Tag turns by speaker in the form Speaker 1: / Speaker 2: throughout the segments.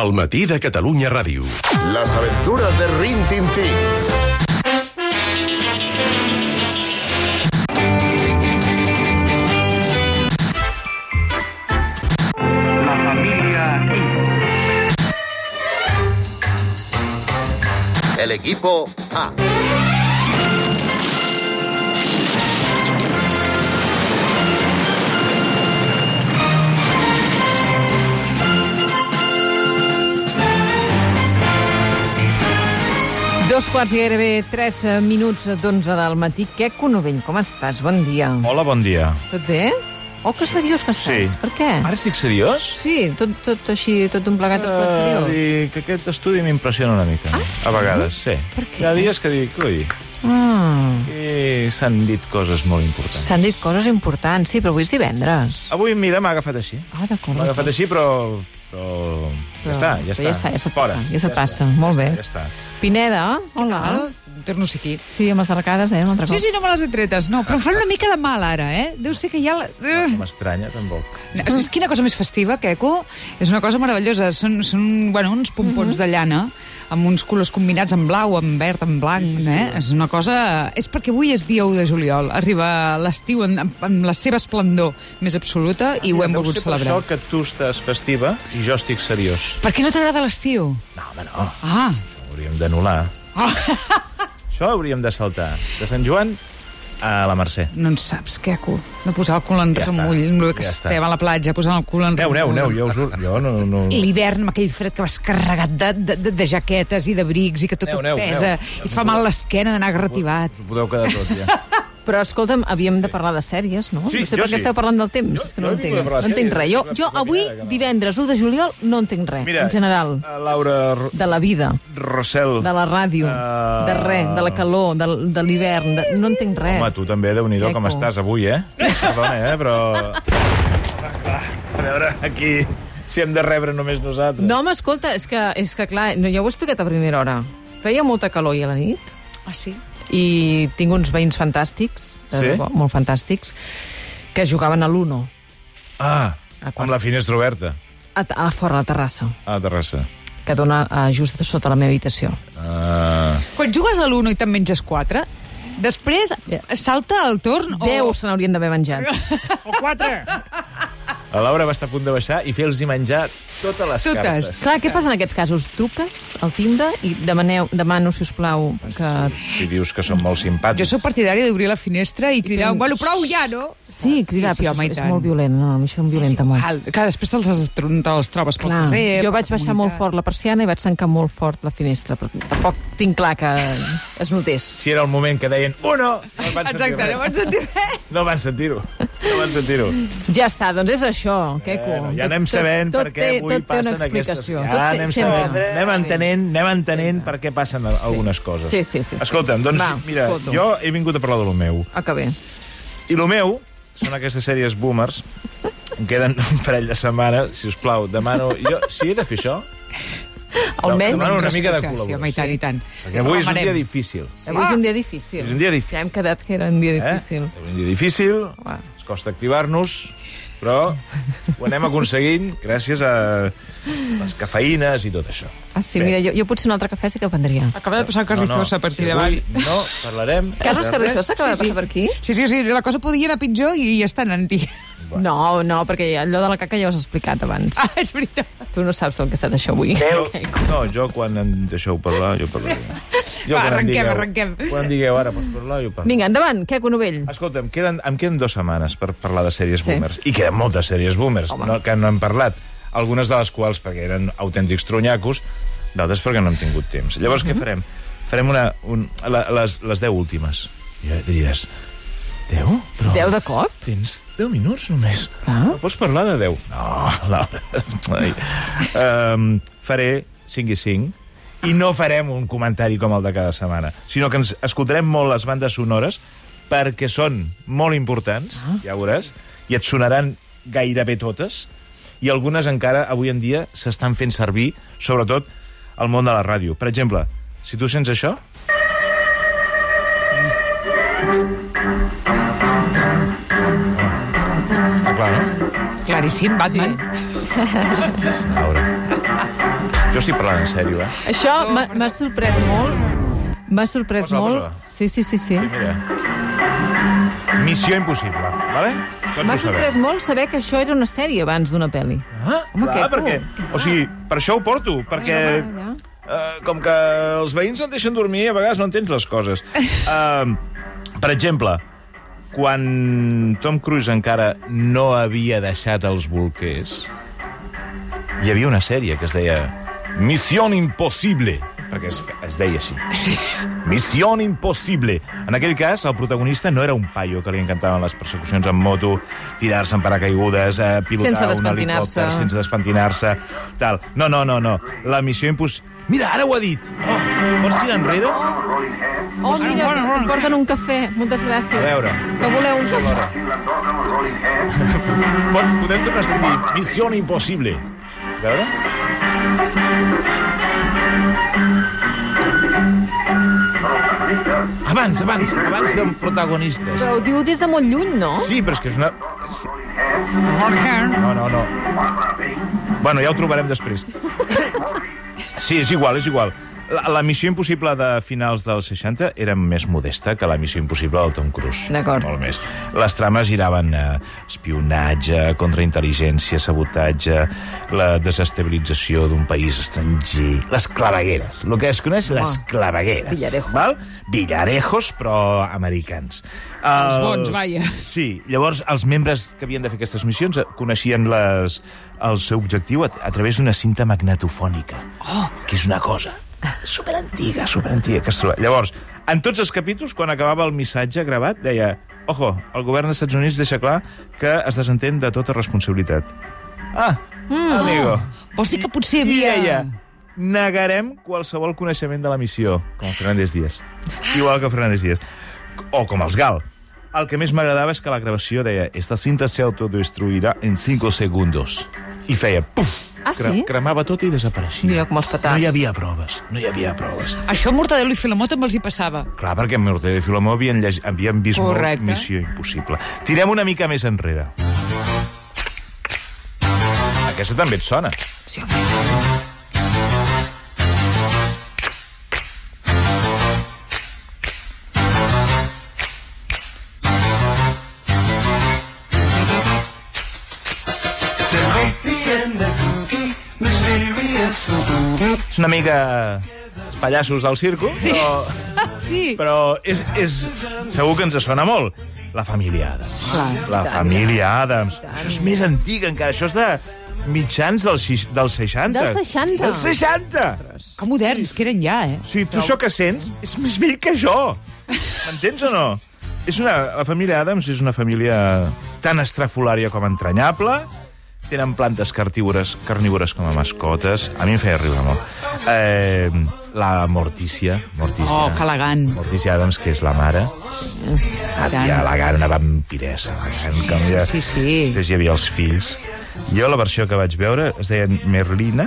Speaker 1: El matí de Catalunya Ràdio.
Speaker 2: Las aventuras de Rin Tin Tin.
Speaker 3: la familia
Speaker 2: El equipo A.
Speaker 4: Dos quarts i gairebé tres eh, minuts d'onze del matí. Què, Conovell, com estàs? Bon dia.
Speaker 5: Hola, bon dia.
Speaker 4: Tot bé? Oh, que seriós que estàs.
Speaker 5: Sí.
Speaker 4: Per què?
Speaker 5: Ara estic seriós?
Speaker 4: Sí, tot, tot així, tot un plegat tot
Speaker 5: Eh,
Speaker 4: seriós.
Speaker 5: dic, aquest estudi m'impressiona una mica.
Speaker 4: Ah, sí?
Speaker 5: A vegades, sí.
Speaker 4: Per què?
Speaker 5: Hi ha dies que dic, ui,
Speaker 4: Ah,
Speaker 5: aquí s'han dit coses molt importants.
Speaker 4: S'han dit coses importants, sí, però avui és divendres.
Speaker 5: Avui, mira, m'ha agafat així.
Speaker 4: Ah, d'acord.
Speaker 5: M'ha agafat així, però... però...
Speaker 4: Però-
Speaker 5: Ja està,
Speaker 4: però
Speaker 5: ja està.
Speaker 4: ja està, ja se't
Speaker 5: Fora.
Speaker 4: passa, ja se't passa. Molt bé.
Speaker 5: Ja està.
Speaker 4: Pineda, hola.
Speaker 5: Ah,
Speaker 6: Torno-s'hi aquí.
Speaker 4: Sí, amb les arcades, eh, un altre
Speaker 6: Sí,
Speaker 4: cop.
Speaker 6: sí, no me les he tretes, no. Però em fan una mica de mal, ara, eh? Deu ser que hi ha... La...
Speaker 5: No
Speaker 6: Uh.
Speaker 5: M'estranya, tampoc.
Speaker 6: És quina cosa més festiva, Queco. És una cosa meravellosa. Són, són bueno, uns
Speaker 5: Mhm.
Speaker 6: pompons de llana amb uns colors combinats en blau, en verd, en blanc, sí, sí, sí, eh? És una cosa... És perquè avui és dia 1 de juliol. Arriba l'estiu en- amb, amb la seva esplendor més absoluta i ho hem
Speaker 5: Deu
Speaker 6: volgut
Speaker 5: ser per això
Speaker 6: celebrar.
Speaker 5: que tu estàs festiva i jo estic seriós.
Speaker 6: Per què no t'agrada l'estiu?
Speaker 5: No, home, no.
Speaker 6: Ah,
Speaker 5: Això ho hauríem d'anul·lar.
Speaker 4: Ah.
Speaker 5: Això hauríem de saltar. De Sant Joan a la Mercè.
Speaker 6: no en saps, Queco. No posar el cul en
Speaker 5: Ja està,
Speaker 6: remull, amb el que
Speaker 5: ja està.
Speaker 6: estem a la platja, posant el cul en
Speaker 5: Aneu, aneu,
Speaker 6: remull.
Speaker 5: aneu, jo us ho... Jo no, no...
Speaker 6: Mm. l'hivern amb aquell fred que vas carregat de, de, de, de jaquetes i d'abrics i que tot
Speaker 5: Aneu,
Speaker 6: aneu,
Speaker 5: aneu,
Speaker 6: et pesa
Speaker 5: aneu. Ja
Speaker 6: i fa mal l'esquena d'anar grativat.
Speaker 5: Us ho podeu quedar tot, ja.
Speaker 4: Però, escolta'm, havíem de parlar de sèries, no?
Speaker 5: Sí,
Speaker 4: no sé
Speaker 5: jo
Speaker 4: per què
Speaker 5: sí.
Speaker 4: esteu parlant del temps.
Speaker 5: Jo-
Speaker 4: és que no
Speaker 5: jo he vingut a
Speaker 4: entenc,
Speaker 5: parlar de
Speaker 4: no entenc
Speaker 5: sèries,
Speaker 4: res. Jo,
Speaker 5: és una
Speaker 4: jo
Speaker 5: cosa
Speaker 4: avui,
Speaker 5: mirada que no.
Speaker 4: divendres 1 de juliol, no entenc res, en general,
Speaker 5: eh, Laura R
Speaker 4: de la vida.
Speaker 5: Rossell.
Speaker 4: de la ràdio,
Speaker 5: Eh,
Speaker 4: de res, de la calor, de, de l'hivern, de... no entenc res.
Speaker 5: Home, tu també, déu nhi com
Speaker 4: Queco.
Speaker 5: estàs avui, eh? Perdona, eh, però... Va, va, a veure, aquí... Si hem de rebre només nosaltres.
Speaker 4: No, home, escolta, és que, és que clar, no, ja ho he explicat a primera hora. Feia molta calor ahir a la nit
Speaker 6: Ah, sí?
Speaker 4: i tinc uns veïns fantàstics, de
Speaker 5: Sí?
Speaker 4: debò, molt fantàstics, que jugaven a l'Uno,
Speaker 5: Ah,
Speaker 4: A quart.
Speaker 5: amb la finestra oberta,
Speaker 4: a, a fora a la terrassa,
Speaker 5: a Terrassa.
Speaker 4: que dona a, just sota la meva habitació.
Speaker 5: Ah,
Speaker 6: Quan jugues a l'1 i te'n menges 4, després salta el torn o...
Speaker 4: Déu se n'haurien d'haver menjat.
Speaker 5: la Laura va estar a punt de baixar i fer-los menjar totes les
Speaker 6: Totes.
Speaker 5: cartes.
Speaker 4: Clar, què fas en aquests casos? Truques al timbre i demaneu, demano, si us plau, que...
Speaker 5: Si dius que són molt simpàtics.
Speaker 6: Jo sóc partidària d'obrir la finestra i cridar,
Speaker 4: fent-
Speaker 6: bueno, prou ja, no?
Speaker 4: Sí, cridar,
Speaker 6: sí,
Speaker 4: però
Speaker 6: home,
Speaker 4: això és,
Speaker 6: i
Speaker 4: és
Speaker 6: tant. ah,
Speaker 4: molt violent, no, a mi això em violenta molt.
Speaker 6: Val. Clar, després te'ls has- te'ls trobes pel
Speaker 4: Clar,
Speaker 6: carrer...
Speaker 4: jo
Speaker 6: per
Speaker 4: vaig
Speaker 6: la
Speaker 4: baixar molt
Speaker 6: comunitat.
Speaker 4: fort la persiana i vaig tancar molt fort la finestra, però tampoc tinc clar que es notés.
Speaker 5: Si era el moment que deien uno, no van sentir
Speaker 6: Exacte,
Speaker 5: res.
Speaker 6: no vaig sentir res.
Speaker 5: No van sentir-ho. No van sentir-ho.
Speaker 4: Ja està, doncs és això, Queco.
Speaker 5: Bueno, ja anem sabent
Speaker 4: tot,
Speaker 5: per què
Speaker 4: té-
Speaker 5: avui
Speaker 4: tot té
Speaker 5: passen
Speaker 4: una explicació.
Speaker 5: aquestes...
Speaker 4: Tot
Speaker 5: Ja
Speaker 4: té-
Speaker 5: anem
Speaker 4: sempre.
Speaker 5: sabent, anem entenent, anem entenent per què passen a- algunes coses.
Speaker 4: Sí, sí, sí, sí.
Speaker 5: Escolta'm, doncs,
Speaker 4: Va,
Speaker 5: mira,
Speaker 4: escolto.
Speaker 5: jo he vingut a parlar de lo meu.
Speaker 4: Ah, que bé.
Speaker 5: I lo meu són aquestes sèries boomers. Em queden un parell de setmanes, si us plau, demano... Jo, si he de fer això,
Speaker 4: Almenys,
Speaker 5: demano una mica de
Speaker 6: Sí, home, i tant,
Speaker 5: col·laboració.
Speaker 6: i tant.
Speaker 5: Perquè avui és un
Speaker 6: Reclamarem.
Speaker 5: dia difícil.
Speaker 4: avui és un dia difícil.
Speaker 5: És un dia difícil.
Speaker 4: Ja hem quedat que era un dia difícil.
Speaker 5: Eh? Un dia difícil,
Speaker 4: Va.
Speaker 5: ens costa activar-nos, però ho anem aconseguint gràcies a les cafeïnes i tot això.
Speaker 4: Ah, sí,
Speaker 5: Bé.
Speaker 4: mira, jo, jo potser un altre cafè sí que el prendria.
Speaker 6: Acaba de passar Ah, Carrizosa per aquí
Speaker 5: si
Speaker 6: davant.
Speaker 5: avui no parlarem...
Speaker 4: Carles
Speaker 5: de res.
Speaker 4: Carrizosa, que va passar per aquí?
Speaker 6: Sí, sí, sí, la cosa podia anar pitjor i ja està anant
Speaker 4: No, no, perquè allò de la caca ja us he explicat abans.
Speaker 6: Ah, és veritat.
Speaker 4: Tu no saps el que ha estat això avui.
Speaker 5: Jo,
Speaker 4: Queco.
Speaker 5: no, jo quan em deixeu parlar, jo parlaré. Jo quan
Speaker 6: Va,
Speaker 5: em
Speaker 6: arrenquem,
Speaker 5: digueu-
Speaker 6: arrenquem.
Speaker 5: Quan em digueu ara pots parlar, jo parlo.
Speaker 4: Vinga, endavant, Queco Novell.
Speaker 5: Escolta, em queden, em queden dues setmanes per parlar de sèries
Speaker 4: Sí.
Speaker 5: boomers. I queden moltes sèries boomers
Speaker 4: Home.
Speaker 5: no, que no hem parlat. Algunes de les quals perquè eren autèntics tronyacos, d'altres perquè no hem tingut temps. Llavors,
Speaker 4: Mhm.
Speaker 5: què farem? Farem una, un, la, les, les 10 últimes. I ja diries, 10? Però
Speaker 4: Deu de cop?
Speaker 5: tens 10 minuts només.
Speaker 4: Ah.
Speaker 5: No pots parlar de 10? No, Laura. Ai. Um, faré 5 i 5 i no farem un comentari com el de cada setmana, sinó que ens escoltarem molt les bandes sonores perquè són molt importants, ah. ja ho veuràs, i et sonaran gairebé totes, i algunes encara avui en dia s'estan fent servir, sobretot al món de la ràdio. Per exemple, si tu sents això, està clar, no?
Speaker 6: Claríssim, Batman.
Speaker 5: Laura. Jo estic parlant en sèrio, eh?
Speaker 4: Això
Speaker 6: Ah,
Speaker 4: m'ha m'ha sorprès molt. M'ha sorprès
Speaker 5: Posa-la,
Speaker 4: molt.
Speaker 5: posa-la.
Speaker 4: Sí, sí, sí, sí.
Speaker 5: Sí, mira. Missió impossible, vale? Tots
Speaker 4: M'ha
Speaker 5: ho sabem.
Speaker 4: sorprès molt saber que això era una sèrie abans d'una pel·li.
Speaker 5: Ah,
Speaker 4: Home,
Speaker 5: clar,
Speaker 4: que cool.
Speaker 5: perquè... O sigui, per això ho porto, perquè...
Speaker 4: Home, allà.
Speaker 5: eh, com que els veïns no et deixen dormir, a vegades no entens les coses. Uh, per exemple, quan Tom Cruise encara no havia deixat els bolquers, hi havia una sèrie que es deia Misión Impossible, perquè es, es deia així. Sí. Misión Impossible. En aquell cas, el protagonista no era un paio que li encantaven les persecucions en moto, tirar-se en paracaigudes, eh,
Speaker 4: Sense
Speaker 5: pilotar un
Speaker 4: despentinar-se.
Speaker 5: helicòpter sense despentinar-se, tal. No, no, no, no. La missió impossible... Mira, ara ho ha dit! Oh, pots tirar enrere?
Speaker 6: Ah,
Speaker 4: Oh, mira, em porten un cafè. Moltes gràcies.
Speaker 5: A veure.
Speaker 4: Que voleu un cafè?
Speaker 5: Pot, podem tornar a sentir Missió Impossible. A veure? Abans, abans, abans que amb protagonistes.
Speaker 4: Però ho diu des de molt lluny, no?
Speaker 5: Sí, però és que és una...
Speaker 6: Morgan.
Speaker 5: No, no, no. Bueno, ja ho trobarem després. Sí, és igual, és igual. La, la missió impossible de finals dels 60 era més modesta que la missió impossible del Tom Cruise.
Speaker 4: D'acord.
Speaker 5: Molt més. Les trames giraven eh, espionatge, contraintel·ligència, sabotatge, la desestabilització d'un país estranger, les clavegueres. El que es coneix, les clavegueres.
Speaker 4: Villarejo.
Speaker 5: Val? Villarejos, però americans.
Speaker 6: Els bons, vaja.
Speaker 5: Sí, llavors els membres que havien de fer aquestes missions eh, coneixien les, el seu objectiu a, a través d'una cinta magnetofònica, oh. que és una cosa superantiga, superantiga que es troba. Llavors, en tots els capítols, quan acabava el missatge gravat, deia Ojo, el govern dels Estats Units deixa clar que es desentén de tota responsabilitat. Ah, mm. amigo.
Speaker 6: Vols dir que potser
Speaker 5: I
Speaker 6: havia...
Speaker 5: deia, negarem qualsevol coneixement de la missió, com el Fernández Díaz. Igual que Fernández Díaz. O com els Gal. El que més m'agradava és que la gravació deia «Esta cinta se autodestruirá en 5 segundos». I feia puf!
Speaker 4: Ah, sí?
Speaker 5: cremava tot i desapareixia.
Speaker 4: Mira, com els petards.
Speaker 5: No hi havia proves, no hi havia proves.
Speaker 6: Això a Mortadelo i Filamota me'ls hi passava.
Speaker 5: Clar, perquè amb Mortadelo i Filomó havien, llegi... havien vist
Speaker 6: Correcte.
Speaker 5: molt Missió Impossible. Tirem una mica més enrere. Aquesta també et sona.
Speaker 6: Sí, home.
Speaker 5: És una mica els pallassos del circo, sí. però,
Speaker 6: Sí.
Speaker 5: però és, és, segur que ens sona molt. La família Adams.
Speaker 6: Clar.
Speaker 5: La família Adams. Això és més antic encara, això és de mitjans dels, sis- dels 60.
Speaker 4: Dels 60.
Speaker 5: Dels 60!
Speaker 6: Que moderns que eren ja, eh?
Speaker 5: O sigui, tu això que sents és més vell que jo. M'entens o no? És una, la família Adams és una família tan estrafolària com entranyable, tenen plantes carnívores, carnívores com a mascotes. A mi em feia riure molt. Eh, la Mortícia. Mortícia.
Speaker 6: Oh, que elegant.
Speaker 5: Mortícia Adams, que és la mare. Una tia, la gara, una vampiressa. La gran,
Speaker 6: Sí,
Speaker 5: com
Speaker 6: sí,
Speaker 5: ella-
Speaker 6: sí, sí.
Speaker 5: Després hi havia els fills. Jo la versió que vaig veure es deia Merlina,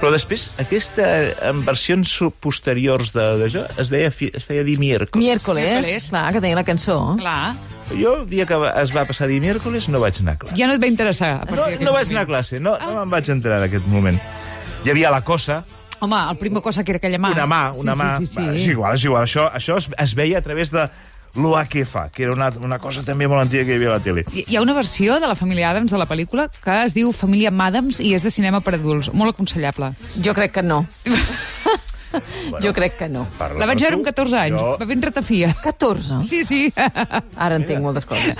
Speaker 5: però després aquesta, en versions su- posteriors de- d'això, es, deia, fi- es feia dir miércoles.
Speaker 4: Miércoles,
Speaker 6: Miércoles.
Speaker 4: clar, que tenia la cançó.
Speaker 6: Clar.
Speaker 5: Jo, el dia que va- es va passar a dir miércoles, no vaig anar a classe.
Speaker 6: Ja no et va interessar. A
Speaker 5: No,
Speaker 6: partir
Speaker 5: no vaig
Speaker 6: d'aquell
Speaker 5: anar a classe, no,
Speaker 6: Ah.
Speaker 5: no me'n vaig entrar d'aquest moment. Hi havia la cosa,
Speaker 6: moment. Home, el primer cosa que era aquella mà.
Speaker 5: una mà, una
Speaker 6: Ah, sí,
Speaker 5: mà...
Speaker 6: Sí, sí,
Speaker 5: Va, és
Speaker 6: sí.
Speaker 5: igual, és igual. Això, això es, es veia a través de l'Oakefa, que era una, una cosa també molt antiga que hi havia a la tele.
Speaker 6: Hi- Hi ha una versió de la família Adams de la pel·lícula que es diu Família Madams i és de cinema per adults. Molt aconsellable.
Speaker 4: Jo crec que no. Jo crec que no.
Speaker 5: Parla
Speaker 6: La vaig
Speaker 5: per
Speaker 6: veure
Speaker 5: tu,
Speaker 6: amb 14 anys.
Speaker 5: jo-
Speaker 6: Va ben ratafia.
Speaker 4: 14.
Speaker 6: Sí, sí.
Speaker 4: Ara entenc moltes coses.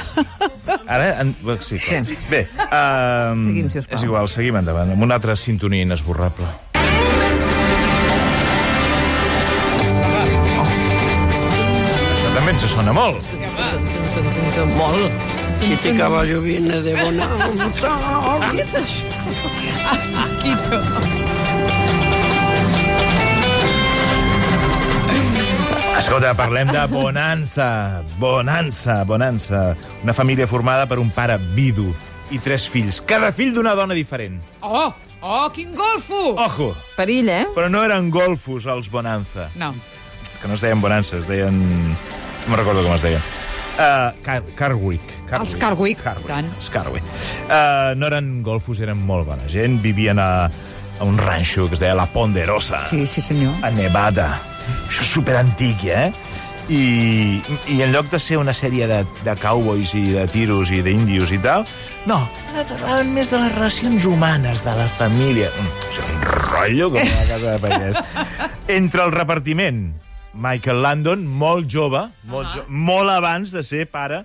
Speaker 5: Ara, en... bé, sí, clar.
Speaker 4: Sí.
Speaker 5: Bé, um,
Speaker 4: Seguim, sisplau.
Speaker 5: és igual, seguim endavant, amb una altra sintonia inesborrable. Això també ens sona molt.
Speaker 4: Tum, tum, tum, Molt.
Speaker 7: Este caballo viene de Bonanza.
Speaker 4: Què és això?
Speaker 6: Quito.
Speaker 5: Escolta, parlem de Bonanza. Bonanza, Bonanza. Una família formada per un pare vidu i tres fills, cada fill d'una dona diferent.
Speaker 6: Oh, oh, quin golfo!
Speaker 5: Ojo!
Speaker 4: Perill, eh?
Speaker 5: Però no eren golfos, els Bonanza.
Speaker 6: No.
Speaker 5: que no es deien Bonança, es deien... No me'n recordo com es deien. Uh, Car Carwick.
Speaker 6: Els Carwick,
Speaker 5: Carwick.
Speaker 6: tant.
Speaker 5: Els Carwick. Uh, no eren golfos, eren molt bona gent. Vivien a, a un ranxo que es deia La Ponderosa,
Speaker 6: Sí, sí, senyor.
Speaker 5: a Nevada. Això és superantic, eh? I, I en lloc de ser una sèrie de, de cowboys i de tiros i d'índios i tal, no, parlaven més de les relacions humanes, de la família. Mm, és un rotllo com una casa de pagès. Entre el repartiment, Michael Landon, molt jove, molt, jo, molt abans de ser pare,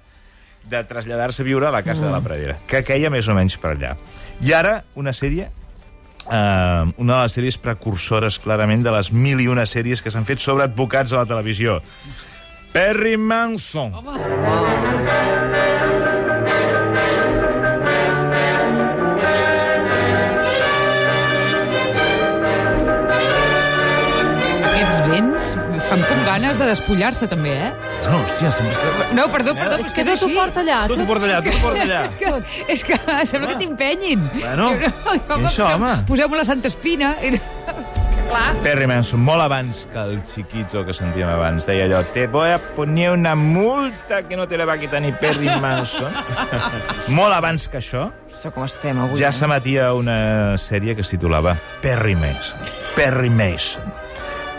Speaker 5: de traslladar-se a viure a la casa de la pradera, que queia més o menys per allà. I ara, una sèrie eh, una de les sèries precursores, clarament, de les mil i una sèries que s'han fet sobre advocats a la televisió. Perry Manson.
Speaker 6: Aquests vents fan com ganes de despullar-se, també, eh?
Speaker 5: No, hòstia, s'ha vist...
Speaker 6: No, perdó, perdó,
Speaker 4: És que tot ho porta allà.
Speaker 5: Tot ho porta allà, tot ho porta allà.
Speaker 6: És que, és que sembla que t'impenyin.
Speaker 5: Bueno,
Speaker 6: Jo-
Speaker 5: i
Speaker 6: jo-
Speaker 5: això,
Speaker 6: poseu-
Speaker 5: home?
Speaker 6: Poseu-me la Santa Espina. i- Que clar.
Speaker 5: Perry Manson, molt abans que el chiquito que sentíem abans. Deia allò, te voy a poner una multa que no te la va quitar ni Perry Manson. molt abans que això,
Speaker 4: Ostres, com estem avui.
Speaker 5: ja
Speaker 4: eh?
Speaker 5: s'emetia una sèrie que es titulava Perry Mason. Perry Mason.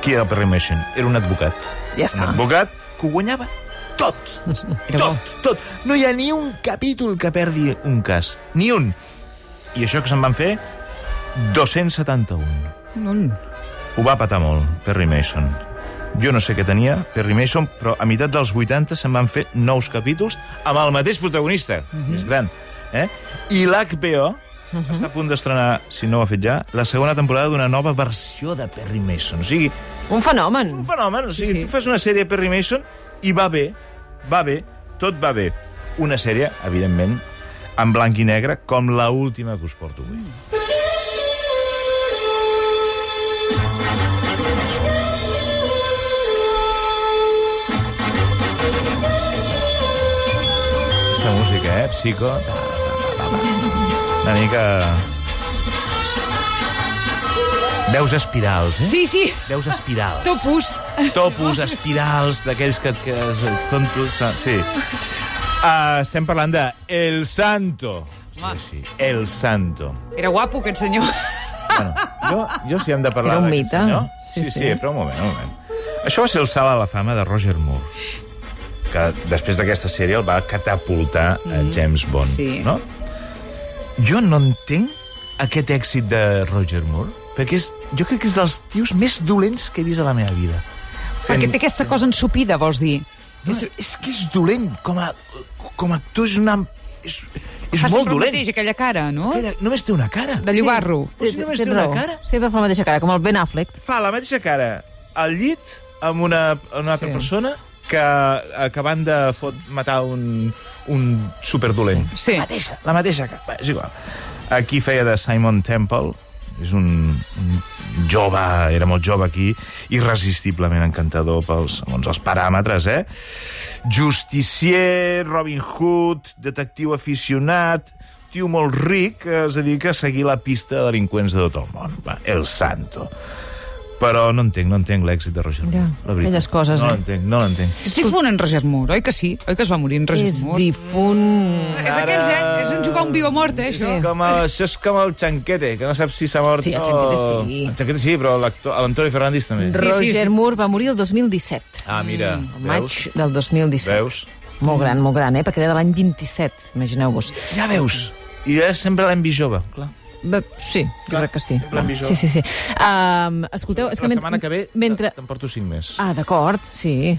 Speaker 5: Qui era Perry Mason? Era un advocat.
Speaker 6: Ja
Speaker 5: Un
Speaker 6: està.
Speaker 5: advocat que ho guanyava tot.
Speaker 6: Era bo.
Speaker 5: Tot, tot. No hi ha ni un capítol que perdi un cas. Ni un. I això que se'n van fer, 271.
Speaker 6: Mm.
Speaker 5: Ho va patar molt, Perry Mason. Jo no sé què tenia Perry Mason, però a meitat dels 80 se'n van fer nous capítols amb el mateix protagonista, mm -hmm. és gran. Eh? I l'HBO uh -huh. està a punt d'estrenar, si no ho ha fet ja, la segona temporada d'una nova versió de Perry Mason. O sigui,
Speaker 4: Un fenomen.
Speaker 5: un fenomen. O sigui, sí,
Speaker 6: Sí, sí.
Speaker 5: sí. tu fas una sèrie Perry Mason i va bé, va bé, tot va bé. Una sèrie, evidentment, en blanc i negre, com la última que us porto avui. Aquesta música, eh? Psico. Una mica... Veus espirals, eh?
Speaker 6: Sí, sí,
Speaker 5: Veus espirals
Speaker 6: topus.
Speaker 5: topos, espirals, d'aquells que, que es- tontos... ah, Sí. Uh, estem parlant de El Santo.
Speaker 6: Home.
Speaker 5: Sí, sí, El Santo.
Speaker 6: Era guapo, aquest senyor.
Speaker 5: Bueno, jo, jo si hem de parlar
Speaker 4: Era un
Speaker 5: d'aquest
Speaker 4: mite.
Speaker 5: senyor-
Speaker 4: Sí,
Speaker 5: Sí sí,
Speaker 4: sí.
Speaker 5: però un moment, un moment. Això va ser el salt a la fama de Roger Moore, que després d'aquesta sèrie el va catapultar a
Speaker 4: Mm.
Speaker 5: James Bond,
Speaker 6: Sí.
Speaker 5: no? Jo no entenc aquest èxit de Roger Moore, perquè és, jo crec que és dels tios més dolents que he vist a la meva vida.
Speaker 6: Perquè té aquesta cosa ensupida, vols dir.
Speaker 5: És, és que és dolent. Com a, com a actor és una... És, és
Speaker 6: Fa
Speaker 5: molt
Speaker 6: sempre el
Speaker 5: dolent.
Speaker 6: mateix, aquella cara, no?
Speaker 5: Aquella- Només té una cara.
Speaker 6: De llobarro.
Speaker 5: O sigui, només té una cara.
Speaker 4: Sempre fa la mateixa cara, com el Ben Affleck.
Speaker 5: Fa la mateixa cara al llit amb una, una altra
Speaker 6: Sí.
Speaker 5: sí. persona que acabant de fot, matar un, un superdolent.
Speaker 6: Sí.
Speaker 5: La mateixa, la mateixa cara. Bé, és igual. Aquí feia de Simon Temple, és un, un jove, era molt jove aquí, irresistiblement encantador pels, segons els paràmetres, eh? justicier, Robin Hood, detectiu aficionat, tio molt ric, que es dedica a seguir la pista de delinqüents de tot el món. Va, el santo. Però no entenc, no entenc l'èxit de Roger Moore.
Speaker 4: Ja,
Speaker 5: la veritat.
Speaker 4: aquelles coses,
Speaker 5: No
Speaker 4: eh?
Speaker 5: l'entenc, no l'entenc.
Speaker 6: És difunt en Roger Moore, oi que sí? Oi que es va morir en Roger
Speaker 4: És
Speaker 6: Moore?
Speaker 4: difunt.
Speaker 6: És d'aquells
Speaker 5: Ara-
Speaker 6: anys, és un jugar a un viu o mort, eh, això?
Speaker 5: És com el, això és com el Xanquete, que no saps si s'ha mort
Speaker 4: Sí, el
Speaker 5: o...
Speaker 4: Chanquete sí.
Speaker 5: El Chanquete sí, però l'actor- l'Antonio Fernández també.
Speaker 6: Sí, sí,
Speaker 4: Roger
Speaker 6: sí.
Speaker 4: Moore va morir el 2017.
Speaker 5: Ah, mira,
Speaker 4: El maig
Speaker 5: veus?
Speaker 4: del 2017.
Speaker 5: Veus?
Speaker 4: Molt gran, molt gran, eh? Perquè era de l'any 27, imagineu-vos.
Speaker 5: Ja veus. I ara sempre l'hem vist jove, clar.
Speaker 4: Bé, Sí, jo
Speaker 5: Clar,
Speaker 4: crec que sí.
Speaker 5: sempre amb visor.
Speaker 4: Sí, sí, sí. Um, escolteu, és que
Speaker 5: la
Speaker 4: men-
Speaker 5: setmana que ve
Speaker 4: mentre...
Speaker 5: te'n porto cinc més.
Speaker 4: Ah, d'acord, sí.